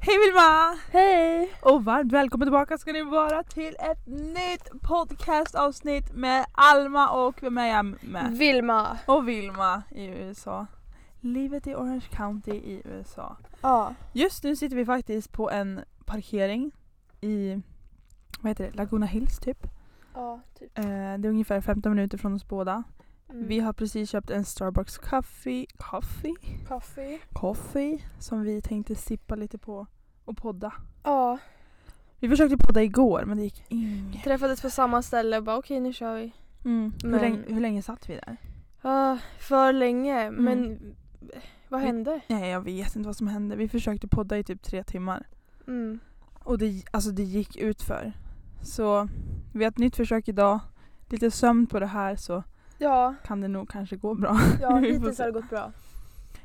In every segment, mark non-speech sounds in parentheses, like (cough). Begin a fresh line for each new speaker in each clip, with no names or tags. Hej Vilma!
Hej!
Och varmt välkommen tillbaka ska ni vara till ett nytt podcastavsnitt med Alma och vem är jag
Mm.
med?
Vilma.
Och Vilma i USA. Livet i Orange County i USA.
Ja.
Just nu sitter vi faktiskt på en parkering i vad heter det? Laguna Hills typ.
Ja, typ.
Eh, det är ungefär 15 minuter från oss båda.
Mm.
Vi har precis köpt en Starbucks coffee, coffee,
Coffee.
coffee som vi tänkte sippa lite på och podda.
Ja.
Vi försökte podda igår men det gick inget.
Träffades på samma ställe och bara okej nu kör vi.
Mm. Hur,
Men-
länge, hur länge satt vi där?
Ah, för länge men vad
Mm. Vi-
hände?
Nej jag vet inte vad som hände. Vi försökte podda i typ tre timmar.
Mm.
Och det, alltså, det gick ut för. Så vi har ett nytt försök idag. Lite sömn på det här så
Ja,
kan det nog kanske gå bra. (laughs) Vi
ja
får
hittills
se.
har det gått bra.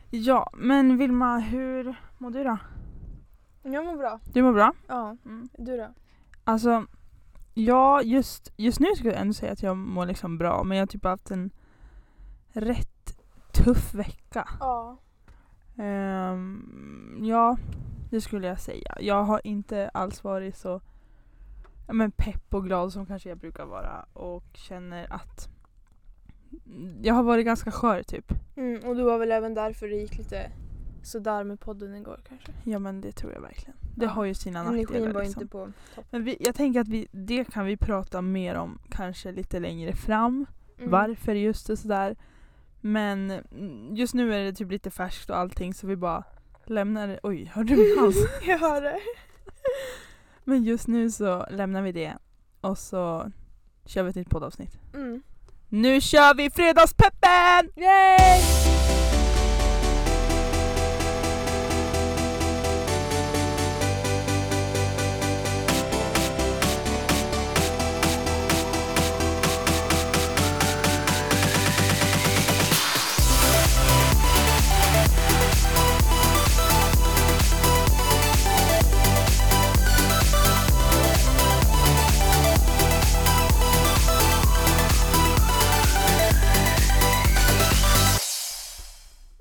Ja men Vilma hur mår du då?
Jag mår bra.
Du mår bra?
Ja, du då?
Alltså, ja, just, just nu skulle jag ändå säga att jag mår liksom bra men jag har typ haft en rätt tuff vecka.
Ja.
Ehm, ja, det skulle jag säga. Jag har inte alls varit så ja, men pepp och glad som kanske jag brukar vara och känner att jag har varit ganska skör typ.
Mm, och det var väl även därför det gick lite sådär med podden igår kanske.
Ja men det tror jag verkligen. Det
Ja.
har ju sina
Energin
nackdelar.
var
Liksom.
inte på topp.
Men vi, jag tänker att vi, det kan vi prata mer om kanske lite längre fram.
Mm.
varför just och sådär. Men mm, just nu är det typ lite färskt och allting så vi bara lämnar det. Oj, hör du (laughs)
(laughs)
min hals?
Jag hör Mm. det.
Men just nu så lämnar vi det och så kör vi ett nytt poddavsnitt.
Mm.
Nu kör vi Fredagspeppen!
Yay!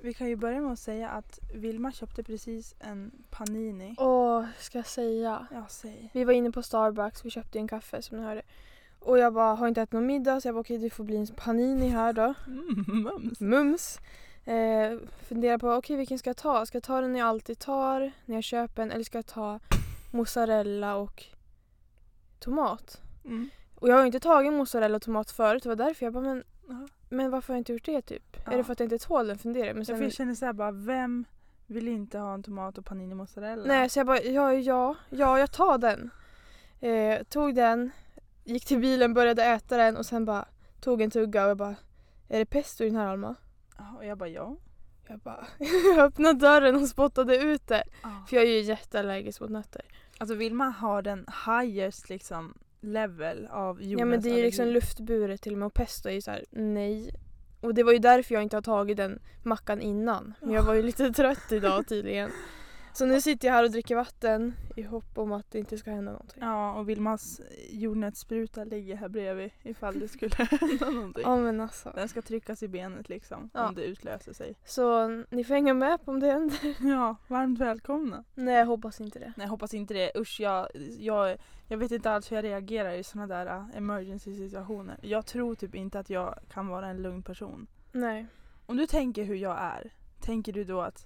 Vi kan ju börja med att säga att Vilma köpte precis en Panini.
Åh, ska jag säga?
Ja, säg.
Vi var inne på Starbucks, vi köpte en kaffe som ni hörde. Och jag bara, har inte ätit någon middag så jag bara okej det får bli en panini här då.
Mm, mums.
Mums. Eh, funderar på okej vilken ska jag ta? Ska jag ta den jag alltid tar när jag köper en eller ska jag ta mozzarella och tomat?
Mm.
Och jag har ju inte tagit mozzarella och tomat förut det var därför jag bara men,
Ja.
men varför har jag inte gjort det typ?
Ja.
Är det för att jag inte tål den funderar jag.
Ja,
men
för
sen,
jag känner såhär bara, vem vill inte ha en tomat och Panini mozzarella?
Nej så jag bara ja ja, ja jag tar den. Eh, tog den, gick till bilen, började äta den och sen bara tog en tugga och jag bara är det pesto i den här Alma?
Ja, Och jag bara ja.
Jag bara (laughs) jag öppnade dörren och spottade ut det. För jag är ju jätteallergisk mot nötter.
Alltså Vilma har den highest liksom level av jordnötsallergi.
ja men det är ju liksom luftburet till och med och pesto är ju såhär nej. Och det var ju därför jag inte har tagit den mackan innan. Men jag var ju lite
(laughs)
trött idag tydligen. Så nu sitter jag här och dricker vatten i hopp om att det inte ska hända någonting.
Ja och Vilmas eh, jordnötsspruta ligger här bredvid ifall det (laughs) skulle hända någonting.
Ja men alltså.
Den ska tryckas i benet liksom
Ja.
om det utlöser sig. (laughs)
Så ni får hänga med på om det händer.
Ja, varmt välkomna.
(laughs) Nej jag hoppas inte det.
Nej jag hoppas inte det. Usch jag, jag, jag vet inte alls hur jag reagerar i sådana där eh, emergency situationer. Jag tror typ inte att jag kan vara en lugn person.
Nej.
Om du tänker hur jag är, tänker du då att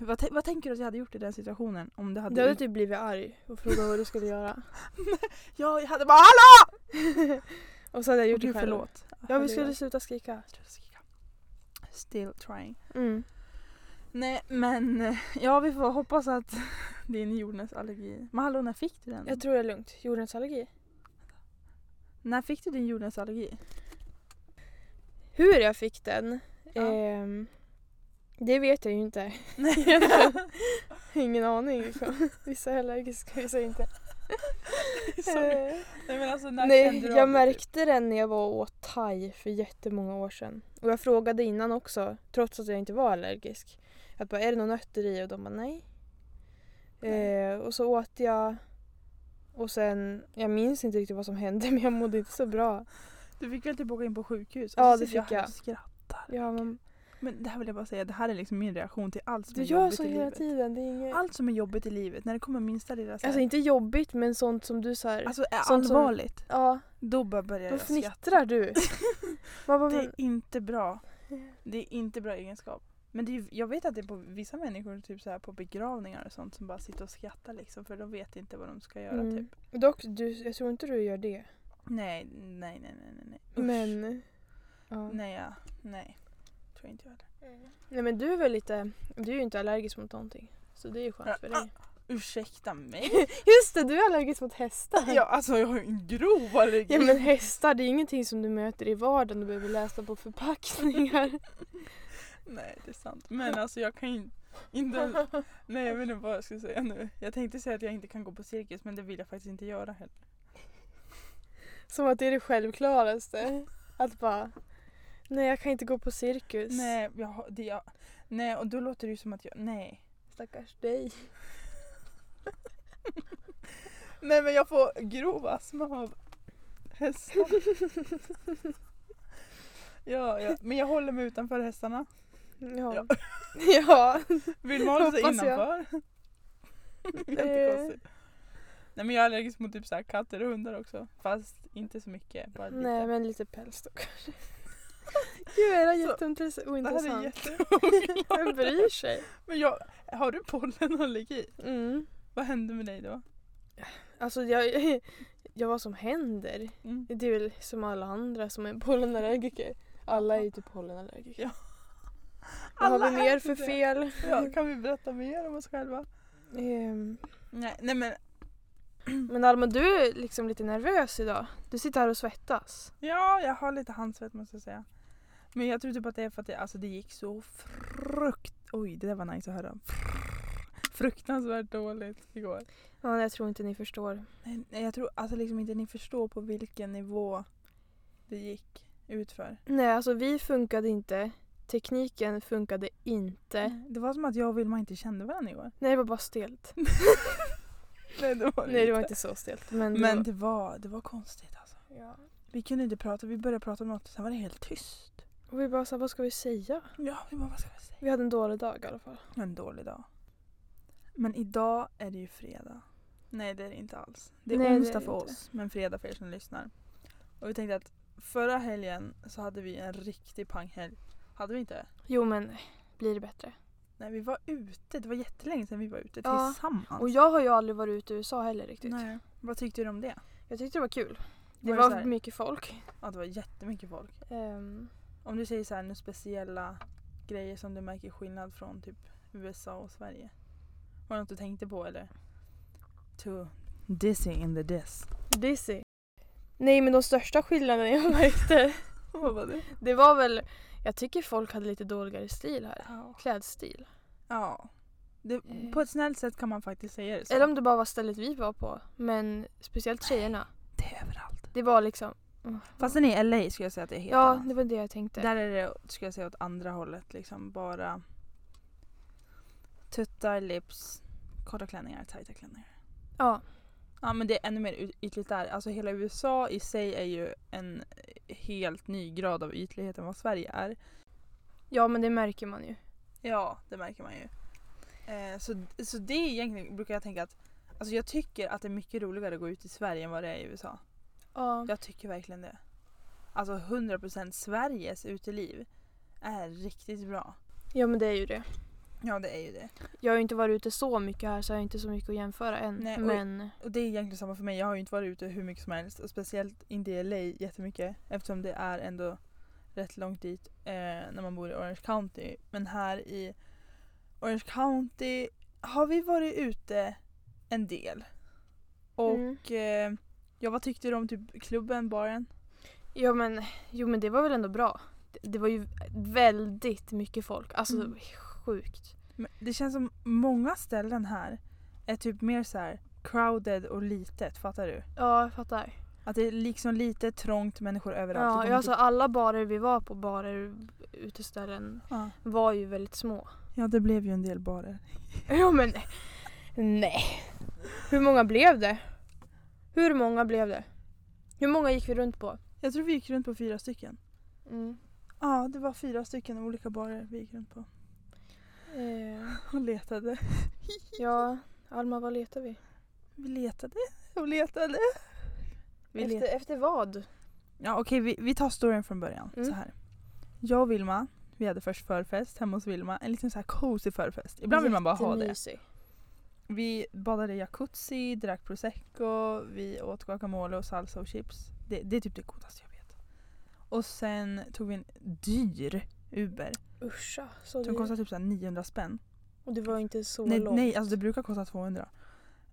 vad, tän- vad tänker du att jag hade gjort i den situationen? Om det hade
Du hade typ blivit arg och frågat vad du skulle (laughs) göra.
Ja, jag hade bara HALLÅ!
Och så hade jag gjort
Gjorde
det
du
själv.
förlåt?
Ja vi skulle sluta skrika.
Still trying.
Mm.
Nej men eh, ja vi får hoppas att (laughs) din jordnötsallergi. Men hallå när fick du den?
Jag tror det är lugnt. Jordnötsallergi.
När fick du din jordnötsallergi?
Hur jag fick den?
Ja.
Ehm, det vet jag ju (laughs) inte.
Nej.
Ingen aning. Liksom. Vissa är allergiska, vissa är inte.
(laughs) Sorry.
Eh,
Nej men alltså när
Nej,
kände du
jag
av det, typ?
märkte den när jag var och åt thai för jättemånga år sedan. Och jag frågade innan också, trots att jag inte var allergisk. Att bara, är det någon nötter i? Och de bara nej.
Nej.
Eh, och så åt jag och sen, jag minns inte riktigt vad som hände (laughs) men jag mådde inte så bra.
Du fick väl typ åka in på sjukhus?
Ja,
Och så
det
sitter jag
fick jag.
här och skrattar.
Ja, men,
Men det här vill jag bara säga, det här är liksom min reaktion till allt som
Du
är
gör
jobbigt
så
i
hela
livet.
tiden. Det är inget...
Allt som är jobbigt i livet, när det kommer minsta lilla så här,
Alltså inte jobbigt men sånt som du så här...
alltså, är
sånt som-
allvarligt,
ja,
då bara börjar
då
jag skratta. (laughs)
fnittrar du. Man bara,
Det är
men,
inte bra. Det är inte bra egenskap. Men det är, ju- jag vet att det är på vissa människor typ så här på begravningar och sånt som bara sitter och skrattar liksom för de vet inte vad de ska göra
Mm.
typ.
dock, du, jag tror inte du gör det.
Nej, nej, nej, nej, nej, nej. Usch.
Men... Ja.
Nej, ja, nej. Tror inte jag heller.
Nej men du är väl lite, du är ju inte allergisk mot någonting. Så det är ju skönt för dig.
Ursäkta mig?
Ah, Just det, du är allergisk mot hästar.
(laughs) ja, alltså jag har ju en grov allergi.
Ja men (laughs) hästar det är ingenting som du möter i vardagen och behöver läsa på förpackningar. (laughs)
Nej, det är sant. (laughs) Men alltså jag kan ju inte... (laughs) Nej, jag vet inte vad jag ska säga nu. Jag tänkte säga att jag inte kan gå på cirkus men det vill jag faktiskt inte göra heller.
Som att det är det självklaraste. Att bara, nej jag kan inte gå på cirkus.
Nej, jag, har- det, jag, nej, och då låter det ju som att jag... Nej.
Stackars dig.
Nej men jag får grov astma av
(laughs)
hästar. ja, ja, men jag håller mig utanför hästarna.
Ja.
Ja.
Ja. (laughs) ja.
Vill man hålla sig
Hoppas jag. Eh.
innanför? (laughs) Jättekonstigt. Nej men jag är allergisk mot typ så här katter och hundar också. Fast inte så mycket, bara lite.
Nej men lite päls då kanske. (laughs) Gud
Så, det här
är det
är
jätteintressant.
jätteoklart.
(laughs) Vem bryr sig?
Men jag, har du pollenallergi?
Mm.
Vad hände med dig då?
Alltså jag, (laughs) jag vad som händer.
Mm.
Det är väl som alla andra som är (laughs) pollenallergiker. Alla är ju typ pollenallergiker.
Ja.
Vad har
Alla
vi mer
är typ
för
det.
fel?
Ja, kan vi berätta mer om oss själva?
Ehm,
Nej, nej men
Men Alma, du är liksom lite nervös idag. Du sitter här och svettas.
Ja, jag har lite handsvett måste jag säga. Men jag tror typ att det är för att det, alltså, det gick så frukt... Oj, det där var nice att höra. Fruktansvärt dåligt igår.
Ja, jag tror inte ni förstår.
Nej, nej, jag tror alltså liksom inte ni förstår på vilken nivå det gick utför.
Nej, alltså vi funkade inte. Tekniken funkade inte.
Det var som att jag och Vilma inte kände varandra igår.
Nej, det var bara stelt.
Nej, det var,
Nej, det var inte så stelt. Men, det
Men
var...
det var, det var konstigt alltså.
Ja.
Vi kunde inte prata, vi började prata om något, sen var det helt tyst.
Och vi bara så här, vad ska vi säga?
Ja, vi bara, vad ska vi säga?
Vi hade en dålig dag i alla fall.
En dålig dag. Men idag är det ju fredag. Nej det är det inte alls. Det är
Nej, det är
onsdag
det
för
inte.
oss men fredag för er som lyssnar. Och vi tänkte att förra helgen så hade vi en riktig panghelg. Hade vi inte?
Jo, men blir det bättre?
Nej vi var ute, det var jättelänge sedan vi var ute
Ja.
tillsammans.
Och jag har ju aldrig varit ute i USA heller riktigt.
Nej. Vad tyckte du om det?
Jag tyckte det var kul. Det
Var
var,
det så här-
mycket folk.
Ja det var jättemycket folk.
Ehm,
Om du säger så här, några speciella grejer som du märker skillnad från typ USA och Sverige. Var det något du tänkte på eller? To dizzy in the diss.
dizzy. Nej, men de största skillnaderna jag märkte,
(laughs) Vad var det?
(laughs) det var väl... Jag tycker folk hade lite dåligare stil här.
Ja.
Klädstil.
ja. Det,
Eh.
på ett snällt sätt kan man faktiskt säga det så.
Eller om det bara var stället vi var på. Men speciellt tjejerna.
Det är överallt.
Det var liksom...
Fast den i LA skulle jag säga att det är helt
Ja,
annat.
det var det jag tänkte.
Där är det, skulle jag säga, åt andra hållet. Liksom bara tuttar, lips, korta klänningar, tajta klänningar.
Ja.
Ja men det är ännu mer yt- ytligt där. Alltså hela USA i sig är ju en eh, helt ny grad av ytlighet än vad Sverige är.
ja, men det märker man ju.
Ja, det märker man ju. Eh, så, så det är egentligen, brukar jag tänka att, alltså jag tycker att det är mycket roligare att gå ut i Sverige än vad det är i USA.
Ja.
Jag tycker verkligen det. Alltså 100% Sveriges uteliv är riktigt bra.
ja, men det är ju det.
Ja det är ju det.
Jag har ju inte varit ute så mycket här så jag har inte så mycket att jämföra än.
Nej, och-
men
Och det är egentligen samma för mig. Jag har ju inte varit ute hur mycket som helst och speciellt inte i LA jättemycket eftersom det är ändå rätt långt dit eh, när man bor i Orange County. Men här i Orange County har vi varit ute en del.
Mm.
Och eh, jag vad tyckte du om typ klubben, baren?
Ja men, jo men det var väl ändå bra. Det, det var ju väldigt mycket folk. Alltså det
Mm.
var sjukt.
Men det känns som många ställen här är typ mer så här crowded och litet, fattar du?
Ja jag fattar.
Att det är liksom lite trångt människor överallt.
Ja,
Det
jag,
kommer
alltså
typ-
alla barer vi var på, barer, uteställen,
ja.
var ju väldigt små. (laughs)
ja, det blev ju en del barer.
Ja men nej. Hur många blev det? Hur många blev det? Hur många gick vi runt på? Mm.
Jag tror vi gick runt på fyra stycken. Ja, det var fyra stycken olika barer vi gick runt på (laughs)
Eh,
och letade.
ja, Alma vad letar vi?
Vi letade och letade. Vi
efter,
let-
efter vad?
ja, okej, vi, vi tar storyn från början.
Mm.
Så här. Jag och Vilma, vi hade först förfest hemma hos Vilma. En liten så här cozy förfest. Ibland vill man bara ha det.
Jättemysig.
Vi badade i jacuzzi, drack prosecco, vi åt guacamole och salsa och chips. Det, det är typ det godaste jag vet. Och sen tog vi en dyr Uber
Uscha, så
som
det,
kostade typ så här 900 spänn.
och det var inte så
Nej,
långt.
nej, alltså det brukar kosta 200.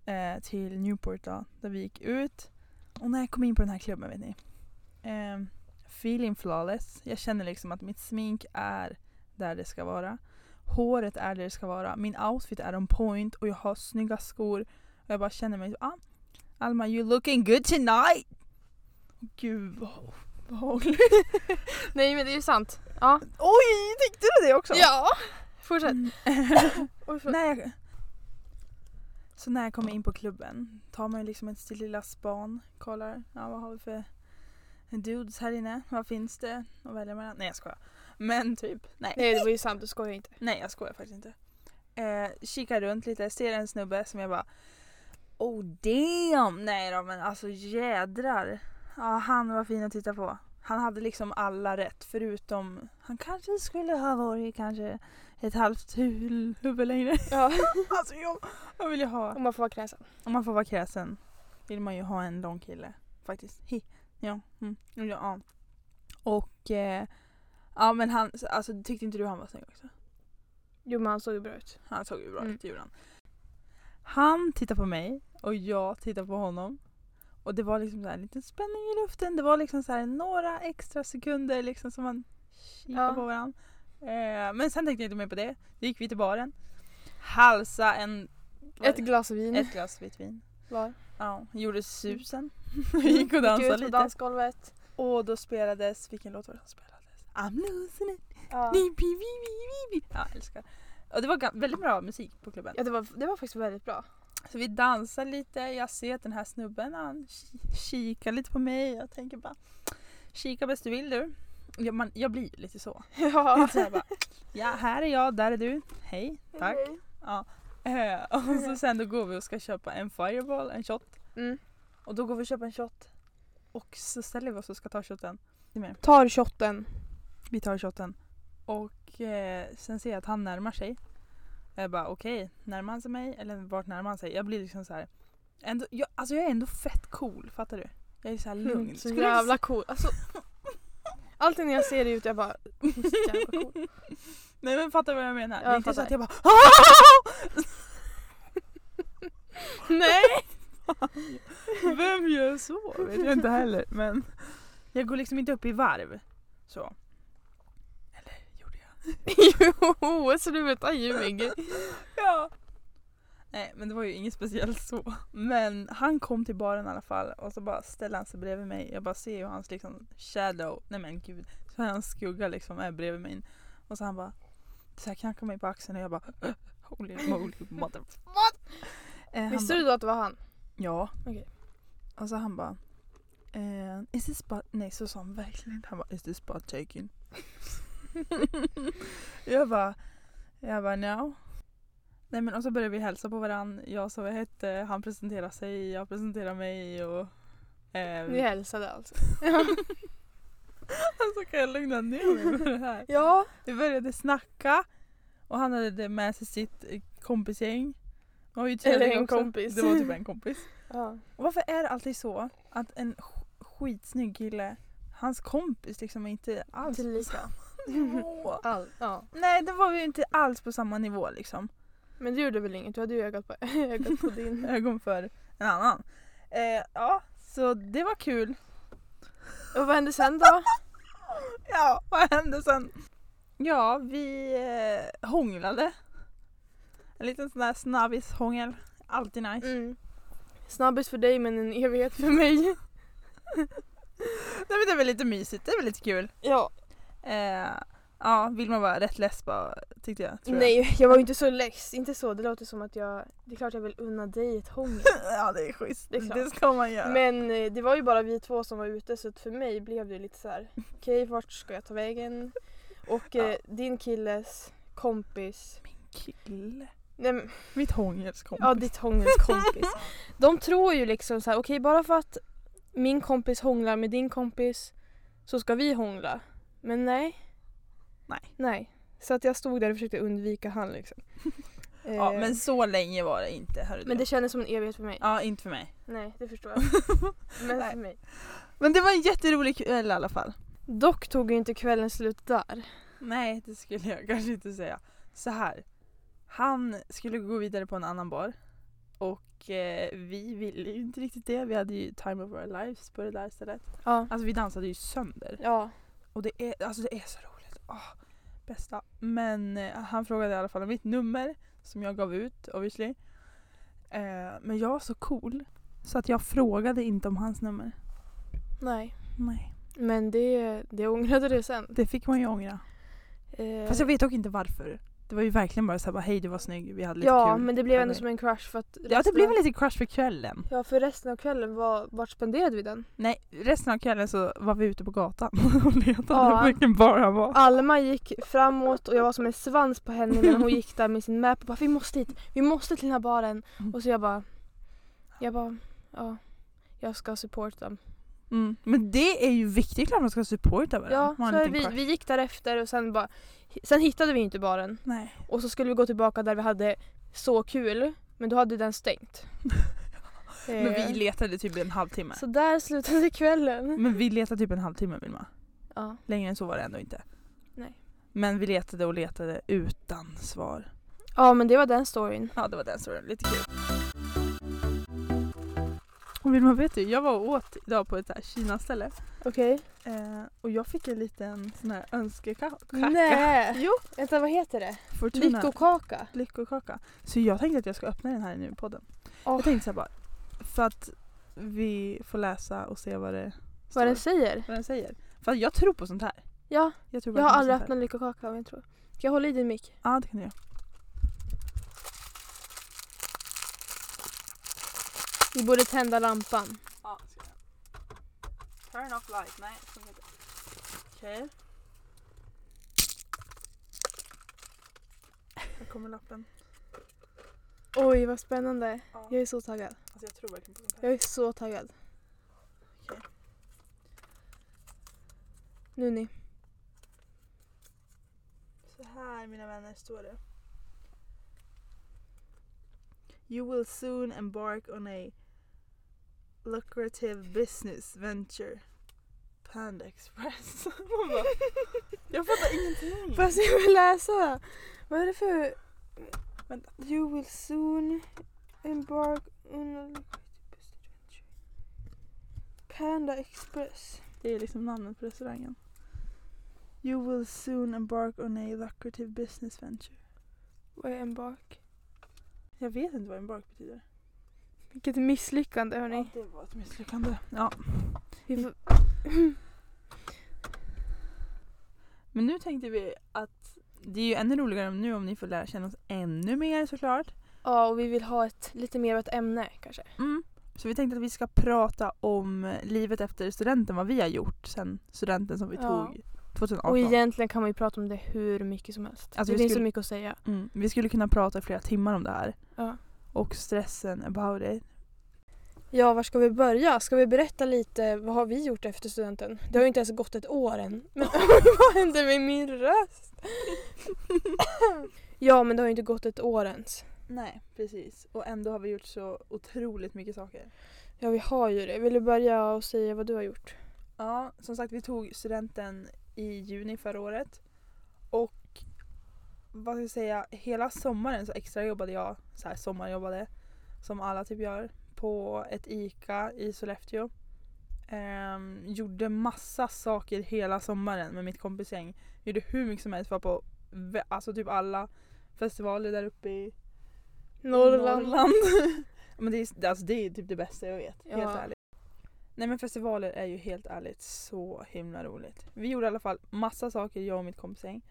Eh, till Newport då, där vi gick ut. Och när jag kom in på den här klubben vet ni. Ehm, feeling flawless. Jag känner liksom att mitt smink är där det ska vara. Håret är där det ska vara. Min outfit är on point och jag har snygga skor. Och jag bara känner mig så, ah, Alma you looking good tonight! Gud vad obehagligt.
(laughs) nej men det är ju sant. Ja.
Oj, tyckte du det också?
Ja!
Mm.
Fortsätt.
(laughs)
Oj, förlåt.
när jag, så när jag kommer in på klubben tar man ju liksom ett sitt lilla span, kollar ja, vad har vi för dudes här inne, vad finns det att välja mellan? Nej jag skojar. Men typ, nej.
Nej det var ju sant, du skojar inte.
Nej jag skojar faktiskt inte. Eh, kikar runt lite, ser en snubbe som jag bara Oh damn! Nej då men alltså jädrar. Ja han var fin att titta på. Han hade liksom alla rätt förutom han kanske skulle ha varit kanske ett halvt hu- huvud längre.
Ja.
alltså jag, jag vill ju ha.
Om man får vara kräsen.
Om man får vara kräsen vill man ju ha en lång kille faktiskt. Hi. Ja. Mm. Ja, ja. Och eh, ja men han, alltså tyckte inte du han var snygg också?
Jo men han såg ju bra ut.
Han såg ju bra
Mm.
ut, gjorde han. Han tittar på mig och jag tittar på honom. Och det var liksom så här en liten spänning i luften. Det var liksom så här några extra sekunder liksom som man kikade
Ja.
på varandra. Eh, men sen tänkte jag inte mer på det. Då gick vi till baren. Halsa en, vad
Ett
är det?
glas vin
ett glas vitt vin.
var.
Mm. Ja, gjorde susen. (laughs) gick och dansade
ut på
lite.
dansgolvet.
Och då spelades, vilken låt var det som spelades? I'm losing it.
Ja.
Bi, bi, bi, bi, bi. Ja, älskar. Och det var ga- väldigt bra musik på klubben.
Ja det var, det var faktiskt
(laughs)
väldigt bra.
Så vi dansar lite, jag ser att den här snubben han ki- kikar lite på mig. Jag tänker bara kika bäst du vill du. Jag, man, jag blir ju lite så.
(laughs) Ja.
så jag (laughs) bara, ja, här är jag, där är du. Hej, tack. Eh, (laughs) och så sen då går vi och ska köpa en fireball, en shot.
Mm.
Och då går vi och köper en shot. Och så ställer vi oss och ska ta shoten. Ni med?
Tar shotten.
Vi tar shoten. Och eh, sen ser jag att han närmar sig. Jag bara okej, närmar han sig mig? Eller vart närmar han sig? Jag blir liksom så här. Ändå, jag, alltså jag är ändå fett cool, fattar du? Jag är så här lugn.
Mm, Så
Skulle jag-
jävla cool.
(laughs)
Alltså, alltid när jag ser dig ut jag bara... "Just jävla cool."
(laughs)
(laughs)
Nej men fattar du vad jag menar?
Ja,
det är
jag
inte så att
fattar.
jag bara "Ah!"
Nej!
(laughs) Vem gör så? Vet jag inte heller. Men jag går liksom inte upp i varv. Så. Eller gjorde jag?
(laughs) Jo, sluta ljug.
(laughs) Ja. Nej men det var ju inget speciellt så. Men han kom till baren i alla fall och så bara ställde han sig bredvid mig. Jag bara ser hur hans liksom shadow, nej men gud. Så här hans skugga liksom är bredvid min. Och så han bara så här knackar mig på axeln och jag bara holy moly mother what? Eh, han
Visste
bara,
du då att det var han?
Ja.
Okej.
Och så han bara eh, Is this spot, nej så sa han verkligen inte. Han bara is this spot taken? (laughs) jag bara jag bara no. Nej men och så började vi hälsa på varandra. Jag sa vad jag hette, han presenterade sig, jag presenterade mig och ehm, (laughs)
Vi hälsade alltså.
alltså kan jag lugna ner mig med det här?
Ja.
Vi började snacka och han hade det med sig sitt eh, kompisgäng. Det var ju
Eller
trevligt
en
också.
kompis.
Det var typ en kompis.
ja.
Och varför är det alltid så att en sk- skitsnygg kille, hans kompis liksom är inte alls på
Tillika.
samma nivå? (laughs)
All, ja.
Nej, det var ju inte alls på samma nivå liksom.
Men det gjorde väl inget, du hade ju ögat på, (laughs) ögat på
(laughs)
din.
Ögon för en annan. Eh, ja, så det var kul.
Och vad hände sen då?
Ja, vad hände sen? Ja, vi eh, hånglade. En liten sån där snabbishångel. Alltid nice.
Mm. Snabbis för dig men en evighet för mig.
Nej, men det är väl lite mysigt, det är väl lite kul.
Ja.
Eh, Ja, Ja, Vilma var rätt less bara tyckte jag. Tror
Nej, jag var ju inte så less. Inte så. Det låter som att jag... Det är klart jag vill unna dig ett hångel.
Jag. (laughs) Ja det är schysst.
Det är
Det,
klart.
ska man göra.
Men eh, det var ju bara vi två som var ute så att för mig blev det lite så här. okej vart ska jag ta vägen? Och eh, din killes kompis,
Kille.
nej, men,
Mitt hångelskompis.
ja ditt hångels kompis. De tror ju liksom så här: okej bara för att min kompis hånglar med din kompis så ska vi hångla. Men nej.
Nej.
Nej. Så att jag stod där och försökte undvika han liksom.
(laughs) Ja,
Eh,
men så länge var det inte. Hörru
men
du.
det kändes som en evighet för mig.
Ja, inte för mig.
Nej, det
(laughs)
förstår jag. Men
Nej.
för mig.
Men det var en jätterolig kväll i alla fall.
Dock tog ju inte kvällen slut där.
Nej, det skulle jag (laughs) kanske inte säga. Så här. Han skulle gå vidare på en annan bar. Och eh, vi ville ju inte riktigt det. Vi hade ju time of our lives på det där stället.
Ja.
Alltså vi dansade ju sönder.
Ja.
Och det är, alltså, det är så roligt. Åh, bästa. Men eh, han frågade i alla fall om mitt nummer som jag gav ut obviously. Eh, men jag var så cool så att jag frågade inte om hans nummer.
Nej.
Nej,
Men det, det ångrade det sen.
det fick man ju ångra.
Eh,
Fast jag vet dock inte varför. Det var ju verkligen bara såhär, hej du var snygg, vi hade lite
ja,
kul.
men det blev ändå som en crush för att
Ja det
resten
blev
av-
väl lite crush för kvällen.
Ja, för resten av kvällen, var, vart spenderade vi den?
Nej, resten av kvällen så var vi ute på gatan (laughs) och letade
Ja.
på vilken bar han var.
Alma gick framåt och jag var som en svans på henne när hon gick där med sin map och bara vi måste hit, vi måste till den här baren. Och så jag bara, jag bara, ja, jag ska supporta dem.
Mm. Men det är ju viktigt, klart man ska supporta varandra.
Ja,
Man
så
har en liten
vi,
crush.
vi gick därefter och sen bara, sen hittade vi inte baren
Nej.
och så skulle vi gå tillbaka där vi hade så kul, men då hade den (laughs) stängt.
Men
Eh,
vi letade typ en halvtimme.
Så där slutade kvällen.
Men vi letade typ en halvtimme Vilma.
Ja.
Längre än så var det ändå inte.
Nej.
Men vi letade och letade utan svar.
ja, men det var den storyn.
Ja det var den storyn, lite kul. Och Vilma vet du, jag var och åt idag på ett där Kina-ställe.
Okej.
Eh, och jag fick en liten sån här önskekaka.
Nej!
Jo,
Vänta, vad heter det?
Fortuna.
Lyckokaka?
lyckokaka. Så jag tänkte att jag ska öppna den här nu i podden.
Åh.
Jag tänkte så här bara, för att vi får läsa och se vad det står.
Vad den säger?
vad den säger. För att jag tror på sånt här.
Ja,
Jag, tror
jag
verkligen
har
på
aldrig
sånt här.
öppnat lyckokaka men jag tror. Ska jag hålla i din mick?
Ja, det kan du göra.
Vi borde tända lampan.
Ja, ska jag. Turn off light. Nej, så inte. Okej. Här kommer lappen.
Oj, vad spännande.
Ja.
Jag är så taggad.
Alltså jag tror verkligen på sånt här.
Jag är så taggad.
Okej.
Nu ni.
Så här mina vänner står det. You will soon embark on a lucrative business venture. Panda (laughs) Express. Man bara, jag fattar ingenting.
Fast jag vill läsa. Vad är det för...
Vänta.
You will soon embark on a Panda Express.
Det är liksom namnet på restaurangen. You will soon embark on a lucrative business venture.
Vad är embark?
Jag vet inte vad embark betyder.
Vilket misslyckande hörni.
det var ett misslyckande. Ja.
Vi får...
Men nu tänkte vi att det är ju ännu roligare nu om ni får lära känna oss ännu mer såklart.
Ja, och vi vill ha ett lite mer av ett ämne kanske.
Mm. Så vi tänkte att vi ska prata om livet efter studenten, vad vi har gjort sen studenten som vi
Ja.
tog 2018.
Och egentligen kan man ju prata om det hur mycket som helst.
Alltså,
det
vi
finns så
skulle-
mycket att säga.
mm. Vi skulle kunna prata i flera timmar om det här
Ja.
och stressen about it.
ja, var ska vi börja? Ska vi berätta lite vad har vi gjort efter studenten? Det har ju inte ens gått ett år än. (laughs) Men vad hände med min röst? (laughs) ja, men det har ju inte gått ett år ens.
Nej, precis. Och ändå har vi gjort så otroligt mycket saker.
Ja, vi har ju det. Vill du börja och säga vad du har gjort?
Ja, som sagt vi tog studenten i juni förra året. Och vad ska jag säga, hela sommaren så extra jobbade jag, så här sommarjobbade, som alla typ gör, på ett ICA i Sollefteå. Ehm, gjorde massa saker hela sommaren med mitt kompisgäng. Gjorde hur mycket som helst, var på vä- alltså typ alla festivaler där uppe i (laughs) men det är, alltså, det är typ det bästa jag vet,
Ja.
helt ärligt. Nej men festivaler är ju helt ärligt så himla roligt. Vi gjorde i alla fall massa saker jag och mitt kompisgäng.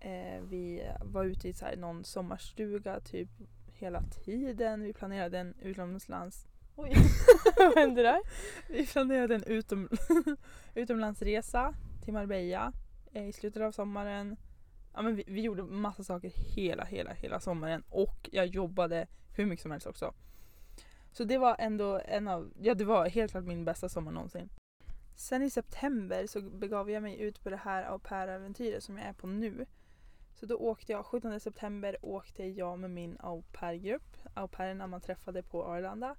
Eh, vi var ute i så här, någon sommarstuga typ hela tiden. Vi planerade en utomlands... Oj,
(laughs) Vad hände där?
(laughs) vi planerade en utom... (laughs) utomlandsresa till Marbella eh, i slutet av sommaren. Ja, men vi, vi gjorde massa saker hela, hela, hela sommaren och jag jobbade hur mycket som helst också. Så det var ändå en av, ja det var helt klart min bästa sommar någonsin. Sen i september så begav jag mig ut på det här au pair-äventyret som jag är på nu. Så då åkte jag, 17 september åkte jag med min au pair-grupp, au pairerna man träffade på Arlanda,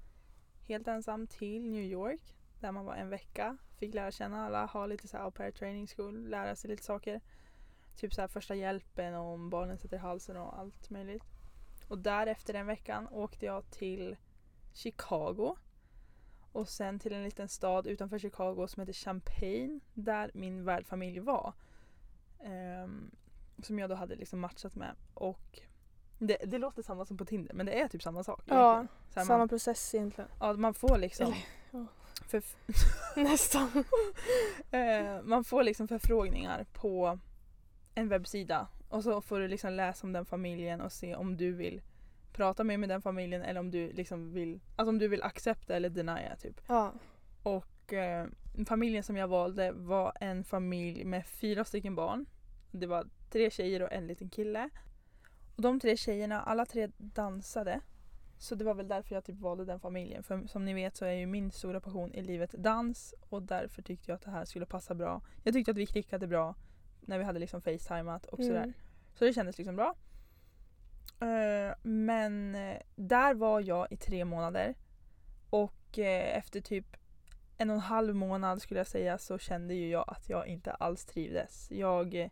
helt ensam till New York där man var en vecka, fick lära känna alla, ha lite så här au pair training school, lära sig lite saker. Typ så här första hjälpen och om barnen sätter halsen och allt möjligt. Och därefter den veckan åkte jag till Chicago. Och sen till en liten stad utanför Chicago som heter Champaign där min värdfamilj var. Ehm, som jag då hade liksom matchat med. Och det, det låter samma som på Tinder men det är typ samma sak.
Ja,
egentligen. Så här,
samma
man,
process egentligen.
ja, man får liksom...
Eller, ja.
För,
(laughs) Nästan.
(laughs) Eh, man får liksom förfrågningar på en webbsida och så får du liksom läsa om den familjen och se om du vill prata mer med den familjen eller om du liksom vill, alltså om du vill accepta eller denia typ.
(laughs) Ja.
Och eh, familjen som jag valde var en familj med fyra stycken barn. Det var tre tjejer och en liten kille. Och de tre tjejerna, alla tre dansade. Så det var väl därför jag typ valde den familjen. För som ni vet så är ju min stora passion i livet dans och därför tyckte jag att det här skulle passa bra. Jag tyckte att vi klickade bra när vi hade liksom facetimat och sådär.
Mm.
Så det kändes liksom bra. Eh, men eh, där var jag i tre månader. Och eh, efter typ en och en halv månad skulle jag säga så kände ju jag att jag inte alls trivdes. Jag eh,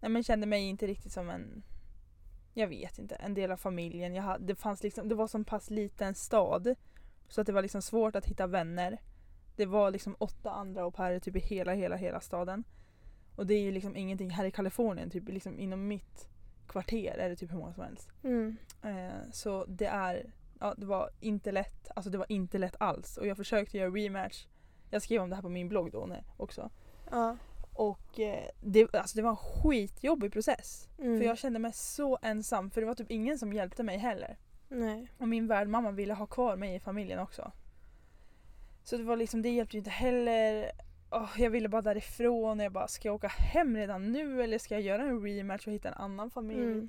nej, men kände mig inte riktigt som en, jag vet inte, en del av familjen. Jag hade, det, fanns liksom, det var så pass liten stad så att det var liksom svårt att hitta vänner. Det var liksom åtta andra au pairer typ i hela, hela, hela staden. Och det är ju liksom ingenting här i Kalifornien, typ liksom inom mitt kvarter är det typ hur många som helst.
Mm.
Eh, så det är, ja det var inte lätt, alltså det var inte lätt alls. Och jag försökte göra rematch, jag skrev om det här på min blogg då nej, också.
Ja.
Och eh, det, alltså det var en skitjobbig process.
Mm.
För jag kände mig så ensam, för det var typ ingen som hjälpte mig heller.
Nej.
Och min värdmamma ville ha kvar mig i familjen också. Så det var liksom, det hjälpte ju inte heller. Åh, jag ville bara därifrån och jag bara, ska jag åka hem redan nu eller ska jag göra en rematch och hitta en annan familj?
Mm.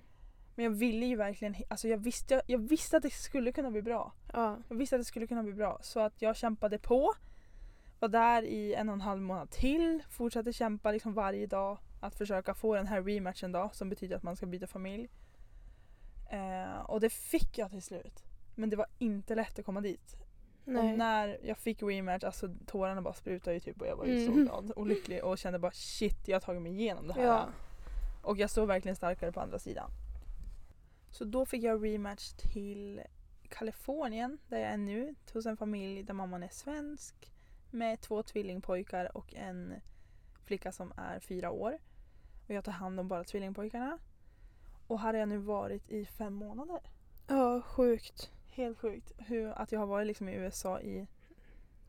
Men jag ville ju verkligen, hi- alltså jag visste, jag, jag visste att det skulle kunna bli bra.
Ja.
Jag visste att det skulle kunna bli bra. Så att jag kämpade på. Var där i en och en halv månad till. Fortsatte kämpa liksom varje dag. Att försöka få den här rematchen då. Som betyder att man ska byta familj. Eh, och det fick jag till slut. Men det var inte lätt att komma dit. Och
Nej.
när jag fick rematch, alltså tårarna bara sprutade ju typ och jag var ju så
Mm.
glad och lycklig och kände bara shit jag har tagit mig igenom det här.
Ja.
Och jag såg verkligen starkare på andra sidan. Så då fick jag rematch till Kalifornien där jag är nu. Hos en familj där mamman är svensk. Med två tvillingpojkar och en flicka som är fyra år. Och jag tar hand om bara tvillingpojkarna. Och här har jag nu varit i fem månader.
Ja, sjukt.
Helt sjukt. Hur, att jag har varit liksom i USA i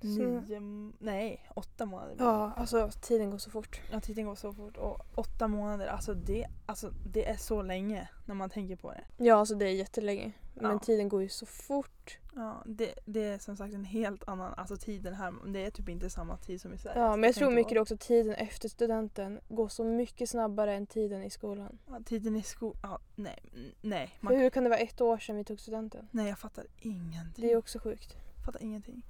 Så-
nio, nej, åtta månader. blir det.
Ja, alltså tiden går så fort.
Ja, tiden går så fort. Och åtta månader, alltså det, alltså det är så länge när man tänker på det.
Ja, alltså det är jättelänge. Men
Ja.
tiden går ju så fort.
Ja, det, det är som sagt en helt annan, alltså tiden här, det är typ inte samma tid som i Sverige.
Ja, men jag tror mycket
då.
också tiden efter studenten går så mycket snabbare än tiden i skolan.
Ja, tiden i skolan, ja, nej, n- nej,
För
man,
hur kan det vara ett år sedan vi tog studenten?
nej jag fattar ingenting.
Det är också sjukt.
fattar ingenting.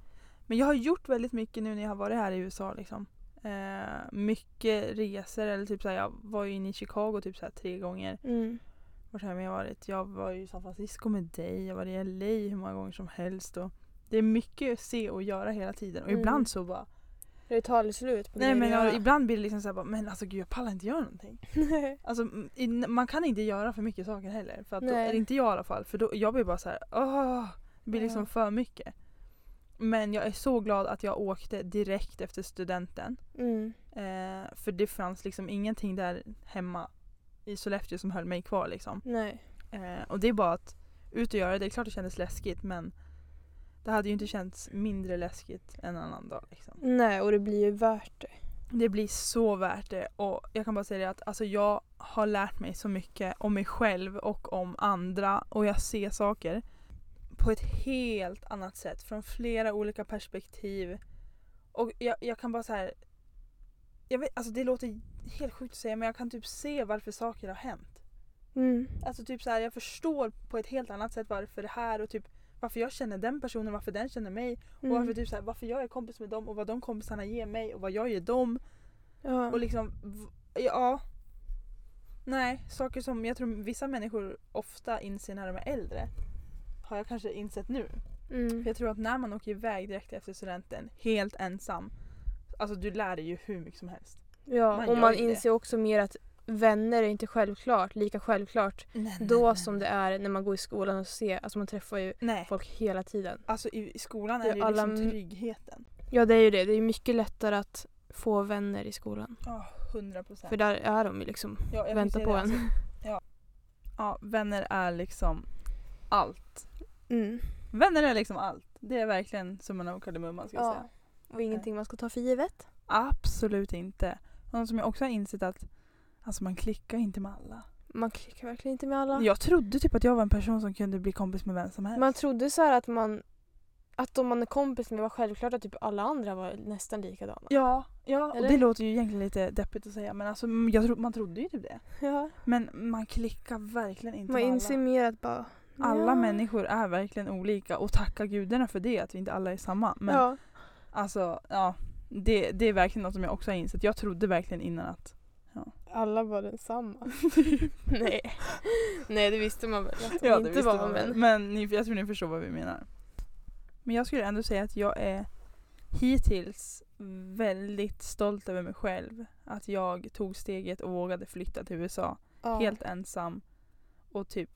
Men jag har gjort väldigt mycket nu när jag har varit här i USA. Liksom. Eh, mycket resor. Eller typ såhär, jag var ju inne i Chicago typ såhär, tre gånger.
Mm.
Vart har jag varit? Jag var ju i San Francisco med dig. Jag var i LA hur många gånger som helst. Och det är mycket att se och göra hela tiden. Och
Mm.
ibland så bara...
Det tar aldrig slut på
Nej,
grejer
men
att
jag,
göra.
ibland blir det liksom såhär, bara, men alltså gud jag pallar inte göra någonting. (laughs)
Nej.
Alltså, mm, i- man kan inte göra för mycket saker heller. För att då,
Nej.
eller inte jag i alla fall. För då, jag blir bara så här, åh, det blir liksom
Ja.
för mycket. Men jag är så glad att jag åkte direkt efter studenten.
Mm.
Eh, för det fanns liksom ingenting där hemma i Sollefteå som höll mig kvar liksom.
Nej.
Eh, och det är bara att ut och göra det. Det är klart det kändes läskigt men det hade ju inte känts mindre läskigt en annan dag liksom.
Nej, och det blir ju värt det.
Det blir så värt det och jag kan bara säga det att alltså, jag har lärt mig så mycket om mig själv och om andra och jag ser saker på ett helt annat sätt från flera olika perspektiv. Och jag, jag kan bara så här. Jag vet, alltså det låter helt sjukt att säga men jag kan typ se varför saker har hänt.
Mm.
Alltså typ så här, jag förstår på ett helt annat sätt varför det här och typ varför jag känner den personen, varför den känner mig
Mm.
och varför, typ så här, varför jag är kompis med dem och vad de kompisarna ger mig och vad jag ger dem.
ja.
Och liksom, v- ja. Nej, saker som jag tror vissa människor ofta inser när de är äldre har jag kanske insett nu.
mm.
För jag tror att när man åker iväg direkt efter studenten helt ensam, alltså du lär dig ju hur mycket som helst.
ja.
man
och
gör
man
ju det.
inser också mer att vänner är inte självklart, lika självklart då som det är när man går i skolan och ser, alltså man träffar ju
Nej,
folk hela tiden.
alltså i, i skolan
Det
är
är
det ju
alla m-
liksom tryggheten.
Ja det är ju det, det är ju mycket lättare att få vänner i skolan.
Ja, 100 procent.
För där är de ju liksom,
Ja, jag kan
väntar
säga
på
det,
en.
alltså. Ja, vänner är liksom allt.
(laughs) Mm.
Vänner är liksom allt. Det är verkligen summan av kardemumman ska jag säga.
Ja. Och ingenting man ska ta för givet.
Absolut inte. Någon som jag också har insett att alltså man klickar inte med alla.
Man klickar verkligen inte med alla.
Jag trodde typ att jag var en person som kunde bli kompis med vem som helst.
Man trodde så här att man att om man är kompis med var självklart att typ alla andra var nästan likadana.
Ja, ja och
Eller?
det låter ju egentligen lite deppigt att säga men alltså, mm, jag tro, man trodde ju typ det.
(laughs) Ja.
Men man klickar verkligen inte
Man
med
inser mer att bara...
alla. Alla
ja.
människor är verkligen olika och tacka gudarna för det att vi inte alla är samma. Men
Ja.
alltså ja, det, det är verkligen något som jag också har insett. Jag trodde verkligen innan att
Alla var densamma. (laughs) Nej. Nej, det visste man väl att de inte
visste
var.
man väl.
Men...
Men ni, jag tror ni förstår vad vi menar. Men jag skulle ändå säga att jag är hittills väldigt stolt över mig själv. Att jag tog steget och vågade flytta till USA
Ja.
helt ensam. Och typ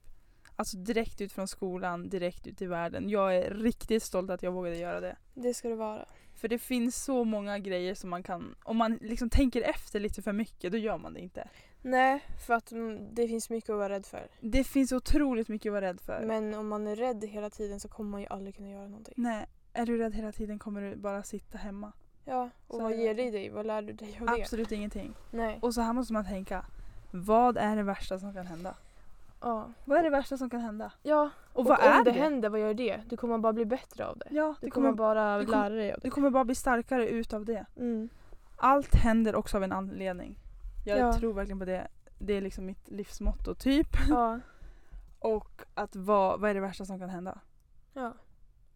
alltså direkt ut från skolan, direkt ut i världen. Jag är riktigt stolt att jag vågade göra det.
Det ska det vara.
För det finns så många grejer som man kan, om man liksom tänker efter lite för mycket, då gör man det inte.
Nej, för att mm, det finns mycket att vara rädd för.
Det finns otroligt mycket att vara rädd för.
Men om man är rädd hela tiden så kommer man ju aldrig kunna göra någonting.
Nej, är du rädd hela tiden kommer du bara sitta hemma.
Ja, och
Så är
vad
det
ger det dig? Vad lär du dig av det?
Absolut ingenting.
Nej.
Och så här måste man tänka. Vad är det värsta som kan hända?
Ja.
Vad är det värsta som kan hända?
ja.
Och vad
om
är
det
det?
händer, vad gör det? Du kommer bara bli bättre av det.
Ja,
Du
du
kommer
kommer,
bara
du kommer-
lära dig av det.
du kommer bara bli starkare utav det.
(laughs) Mm.
Allt händer också av en anledning. Jag
Ja.
tror verkligen på det. Det är liksom mitt livsmotto typ.
Ja.
Och att vad, vad är det värsta som kan hända?
ja.